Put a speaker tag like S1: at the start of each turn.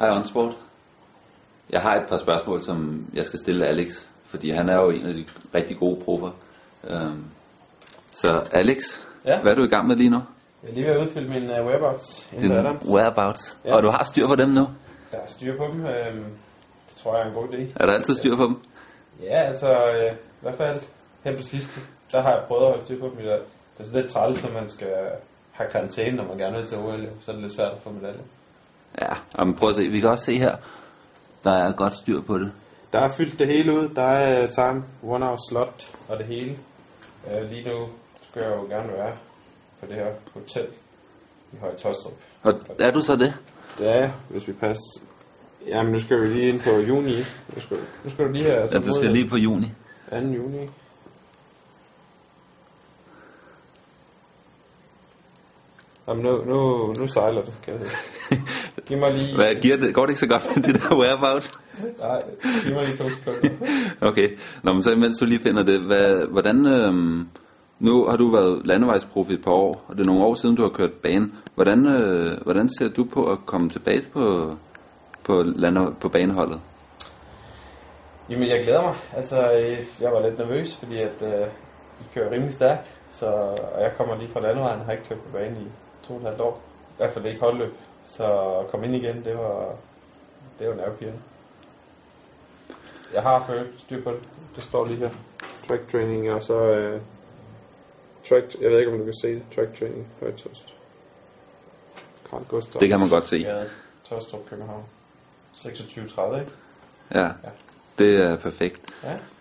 S1: Hej Onsport. Jeg har et par spørgsmål, som jeg skal stille Alex, fordi han er jo en af de rigtig gode proffer. Øhm, så Alex,
S2: Ja.
S1: hvad er du i gang med lige nu?
S2: Jeg er lige ved at udfylde min uh, whereabouts inden for Adams.
S1: whereabouts.
S2: Ja.
S1: Og du har styr på dem nu?
S2: Der er styr på dem. Øhm, det tror jeg er en god idé.
S1: Er der altid styr på dem?
S2: Ja, altså øh, i hvert fald her på sidste, der har jeg prøvet at holde styr på dem. Det er- det er sådan lidt træls, når man skal have karantæne, når man gerne vil til OL. jo. Så er det lidt svært at få medalje.
S1: Ja, men prøv at se. Vi kan også se her, der er godt styr på det.
S2: Der er fyldt det hele ud. Der er uh, time, one hour slot og det hele. Uh, lige nu skal jeg jo gerne være på det her hotel i Høje Tostrup.
S1: Og er du så det?
S2: Det er jeg, hvis vi passer. Jamen, nu skal vi lige ind på juni. Nu skal, nu skal du lige have...
S1: Ja, du skal lige på juni.
S2: 2. juni. Jamen, nu, nu, nu sejler det, kan jeg høre. Giv mig lige...
S1: Hvad, giver det, går det ikke så godt med det der whereabouts?
S2: Nej, giv mig lige to sekunder.
S1: Okay, Nå, men så imens du lige finder det, hvad, hvordan, øhm, nu har du været landevejsprofi et par år, og det er nogle år siden, du har kørt bane. Hvordan, øh, hvordan ser du på at komme tilbage på, på, lande, på baneholdet?
S2: Jamen, jeg glæder mig. Altså, øh, jeg var lidt nervøs, fordi at øh, I kører rimelig stærkt. Så, og jeg kommer lige fra landevejen og har ikke kørt på banen i to og et halvt år. I hvert fald ikke holdløb. Så at komme ind igen, det var, det var nervepirrende. Jeg har følt styr på det. Det står lige her. Track training og så... Øh, track, jeg ved ikke, om du kan se det. Track training. Højt tost. Carl Gustav.
S1: Det kan man godt se.
S2: Ja, Tostrup, København. 26.30, ikke?
S1: Ja, det er perfekt.
S2: Ja.